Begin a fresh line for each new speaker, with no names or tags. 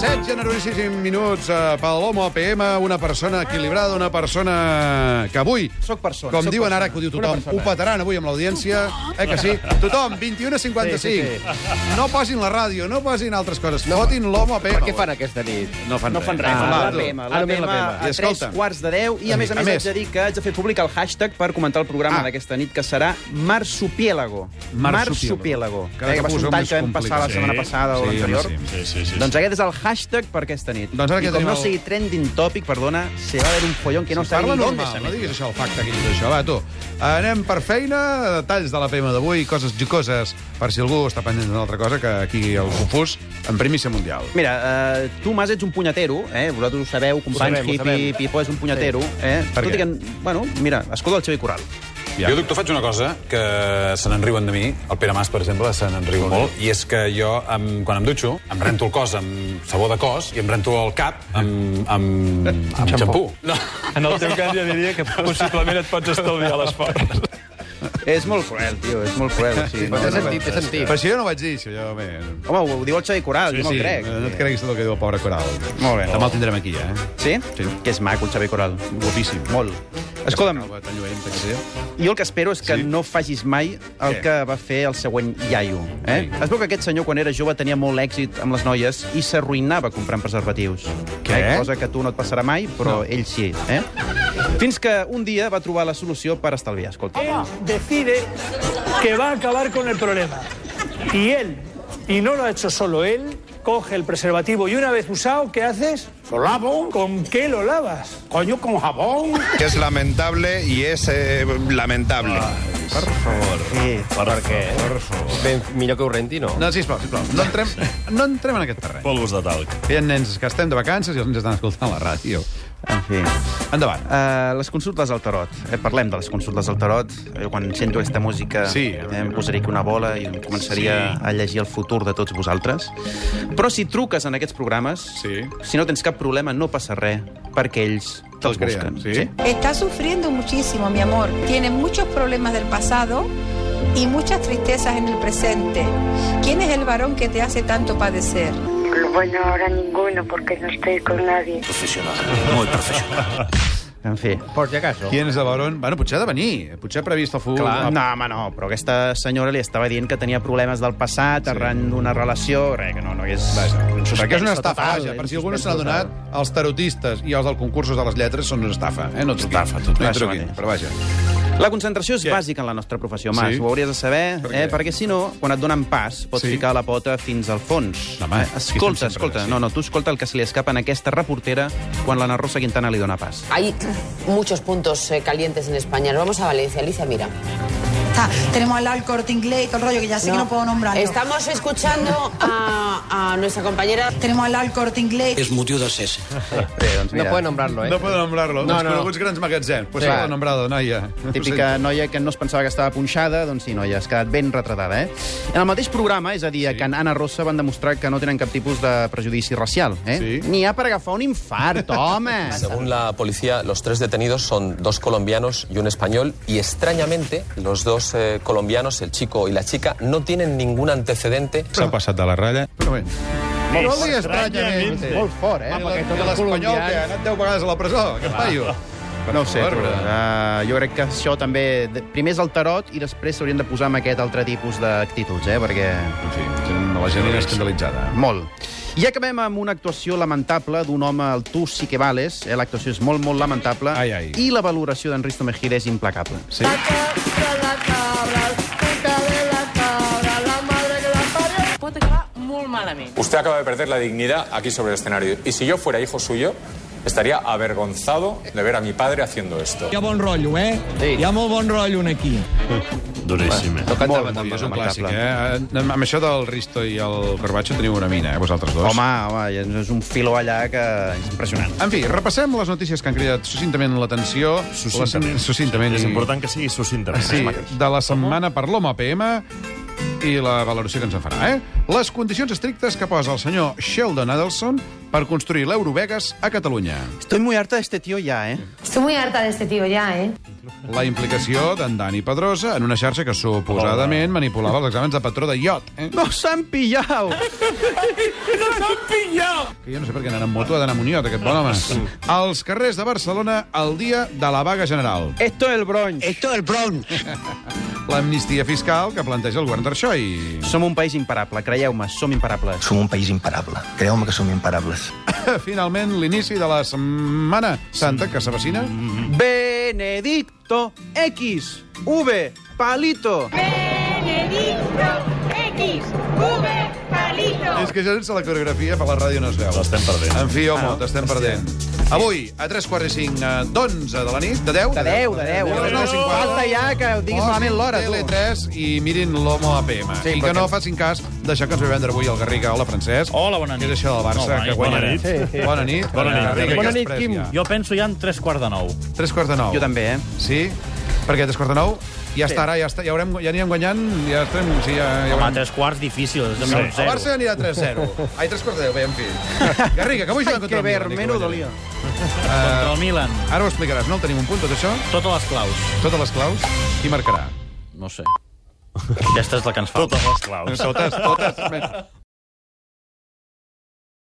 7 generosos i 5 minuts eh, a Palomo APM, una persona equilibrada, una persona que avui...
Soc persona,
Com
soc
diuen ara,
persona.
que ho diu
Una
tothom, ho
persona.
petaran avui amb l'audiència. Eh que sí? Tothom, 21 a 55.
Sí,
No posin la ràdio, no posin altres coses. Fotin l'homo APM.
Per què fan aquesta nit?
No fan,
No fan res.
Va, eh, tu.
Ah, la PEMA,
Ah,
la
només la
PEMA
PEMA.
I
a tres
escolta'm.
quarts de deu. I a més a
A
més
més.
haig de dir que haig de fer públic el hashtag per comentar el programa
Ah.
d'aquesta nit, que serà Marsupiélago.
Marsupiélago.
Marsupiélago.
Cada
Eh, que va
cop
ser
ho
un
poseu
tall
més
que vam passar la
complicat.
setmana
Sí,
passada o
sí,
l'anterior.
home,
Sí, sí, sí.
Doncs aquest és el hashtag per aquesta nit.
Doncs ara que
I com
tenim
no
el-
sigui trending topic, perdona, se va haver un follón que no
Si
sí, sabia
Parla
ni d'on
normal, no diguis això, el facte que dius això. Va, tu. Anem per feina, detalls de la PEMA d'avui, coses jocoses, per si algú està pendent d'una altra cosa, que aquí el confús, en primícia mundial.
Mira, eh, tu, Mas, ets un punyatero, eh? Vosaltres ho sabeu, companys,
sabem, ho
hippie,
sabem.
pipo, és un punyatero, eh?
Per
Tot
què?
i que, bueno, mira, escolta el Xavi Corral.
Jo, doctor, faig una cosa que se n'enriuen de mi. El Pere Mas, per exemple, se n'enriu molt. I és que jo, em, quan em dutxo, em rento el cos amb sabó de cos i em rento el cap amb, amb, amb, amb xampú. No.
En el teu cas ja diria que possiblement et pots estalviar l'esforç.
És molt cruel, tio, és molt cruel. O sigui, no,
Té
no,
sentit, té sentit.
Però això jo no ho vaig dir, això jo... Bé,
Home, ho diu el Xavi Coral, sí, jo me'l sí, crec.
no et creguis tot el que diu el pobre Coral. Molt bé. Demà el tindrem aquí, ja, eh?
Sí?
Sí.
Que és maco, el Xavi Coral.
Guapíssim.
Molt. Escolta'm,
Calva tan lluent, que sé.
jo el que espero és que sí? no facis mai el
Què?
que va fer el següent iaio. Eh?
Sí.
Es veu que aquest senyor, quan era jove, tenia molt èxit amb les noies i s'arruïnava comprant preservatius.
Què?
Eh? Cosa que a tu no et passarà mai, però no. ell sí. Eh? Fins que un dia va trobar la solució per estalviar. Escolta.
Él decide que va a acabar con el problema. Y él, y no lo ha hecho solo él, coge el preservativo y una vez usado, ¿qué haces?
Lo lavo,
¿Con qué lo lavas?
coño, con jabón.
que es lamentable y es eh, lamentable.
Ah,
Sí, per què? Ben, millor que ho renti, no?
No, sisplau, sisplau. No entrem, no entrem en aquest terreny.
Polvos de talc.
Hi ha nens que estem de vacances i els nens estan escoltant la ràdio.
En fi.
Endavant.
Uh, les consultes al tarot. Eh, parlem de les consultes al tarot. Jo quan sento aquesta música
Sí.
eh, em posaria aquí una bola i em començaria sí. a llegir el futur de tots vosaltres. Però si truques en aquests programes,
Sí.
si no tens cap problema, no passa res, perquè ells te'ls
Te'ls creen,
busquen.
sí.
Está sufriendo muchísimo, mi amor. Tiene muchos problemas del pasado y muchas tristezas en el presente. ¿Quién es el varón que te hace tanto padecer?
Bueno, ahora ninguno porque no estoy con nadie.
En fi.
Por si acaso.
Qui és el baron? Bueno, potser ha de venir. Potser ha previst el futur.
Clar. Uh, No, home, no, però aquesta senyora li estava dient que tenia problemes del passat sí. arran d'una relació, res, que no, no és...
Perquè és una estafa,
total, eh,
vaja.
un
Per si algú no se n'ha
suspenso
adonat, els tarotistes i els del concursos de les lletres són una estafa. Eh? No truquin. Estafa,
total.
no hi
Això
truquin,
mateix.
però vaja.
La concentració és bàsica en la nostra professió, Mas.
Sí?
Ho hauries de saber,
Per
per
què?
eh? perquè si no, quan et donen pas, pots
Sí.
sí. ficar la pota fins al fons.
No, home,
Eh,
aquí
escolta,
estem sempre
escolta.
bé, sí.
No, no, tu escolta el que se li escapa a aquesta reportera quan l'Anna Rosa Quintana li dona pas.
Hay muchos puntos eh, calientes en España. Nos vamos a Valencia. Alicia, mira.
tenemos al lado el corte inglés y todo el rollo que ya sé que no puedo nombrar.
Estamos escuchando a, a nuestra compañera.
Tenemos al lado el corte inglés.
Bé, doncs
No puede nombrarlo, eh?
No poden nombrar-lo. No, no.
No, no.
coneguts grans magatzems. Pues
Sí.
sí. nombrada, noia.
Típica noia que no es pensava que estava punxada, doncs sí, noia, has quedat ben retratada, eh? En el mateix programa, és a dir, sí. que en Anna Rosa van demostrar que no tenen cap tipus de prejudici racial, eh?
Sí.
N'hi ha per agafar un infart, home!
Según la policía, los tres detenidos son dos colombianos y un español y extrañamente los dos eh, colombianos, el chico y la chica, no tienen ningún antecedente
S'ha passat de la ratlla.
Però bé. No li estranyament.
Molt fort, eh?
Eh,
Perquè tots els
L'espanyol que ha
colombians...
anat 10 vegades a la presó, aquest paio.
No ho sé, tu,
Barbre.
uh, jo crec que això també... de- Primer és el tarot i després s'haurien de posar amb aquest altre tipus d'actituds, eh? Perquè...
En fi, gent- la gent era escandalitzada.
Molt. I acabem amb una actuació lamentable d'un home al tu sí que vales. Eh? L'actuació és molt, molt lamentable.
Ai, ai.
I la valoració d'Enristo Mejide és implacable.
Sí.
Pot acabar molt malament.
Usted acaba de perder la dignidad aquí sobre el escenario. Y si yo fuera hijo suyo, estaría avergonzado de ver a mi padre haciendo esto.
Hi ha bon rotllo, eh?
Sí.
Hi ha molt bon rotllo en aquí.
Durísimo.
No cantava
Molt,
tan
molt
bé.
És un clàssic, eh? Amb això del Risto i el Carbacho teniu una mina, eh, vosaltres dos.
Home, home, és un filo allà que és impressionant.
En fi, repassem les notícies que han cridat succintament l'atenció.
Succintament.
La- Succintament.
És
i-
important que sigui sucinta.
Sí, de la setmana per l'home PM i la valoració que ens en farà, eh? Les condicions estrictes que posa el senyor Sheldon Adelson per construir l'Eurovegas a Catalunya.
Estoy muy harta de este tío ya, eh?
Estoy muy harta de este tío ya, ¿eh?
la implicació d'en Dani Pedrosa en una xarxa que suposadament manipulava els exàmens de patró de iot. Eh?
¡Nos han pillado!
¡Nos han pillado!
Que jo no sé per què anar amb moto ha d'anar amb un iot, aquest bon home. Als carrers de Barcelona, el dia de la vaga general.
Esto es el bronx.
Esto es el Bronx.
L'amnistia fiscal que planteja el govern d'Arxoi.
Som un país imparable, creieu-me, som imparables.
Som un país imparable. Creu-me que som imparables.
Finalment, l'inici de la Setmana Santa, que s'avecina.
Benedicto X V Palito.
Benedicto X, V, palito.
És que ja sense la coreografia per la ràdio no es veu.
L'estem perdent.
En fi,
Ah,
home, t'estem perdent. Avui, a 3 quarts i 5 d'onze de la nit, de 10...
De 10, de 10.
De les 9.50.
Falta ja que diguis malament l'hora, tu.
Tele3 i mirin l'Homo APM.
Sí,
Sí, I
perquè-
que no facin cas d'això que ens ve a vendre avui el Garriga. Hola, Francesc.
Hola, bona nit.
Què és això del Barça
Hola,
que
bona
guanyarà?
nit. Sí.
Bona nit.
Bona nit.
Garriga,
Bona
que
nit,
es
Quim.
previa.
Jo penso ja en tres quarts de nou.
Tres quarts de nou.
Jo també, eh?
Sí? Perquè tres quarts de nou ja
Sí.
estarà, ja, està, ja, haurem, ja anirem guanyant, ja estarem... Sí, ja, ja
Home,
haurem...
tres quarts difícil, és de
Sí.
menys
El
zero.
Barça anirà 3-0. Ai, 3 quarts de 10, bé, en fi. Garriga, que avui
Ai,
juguen contra
que
el Milan. i que
vermero
guanyarem.
dolia.
Contra el
Eh,
Milan,
Ara ho explicaràs, no? El tenim un punt, tot això?
totes les claus.
Totes les claus? Qui marcarà?
No sé. Aquesta és la que ens falta.
Totes les claus.
Totes, totes.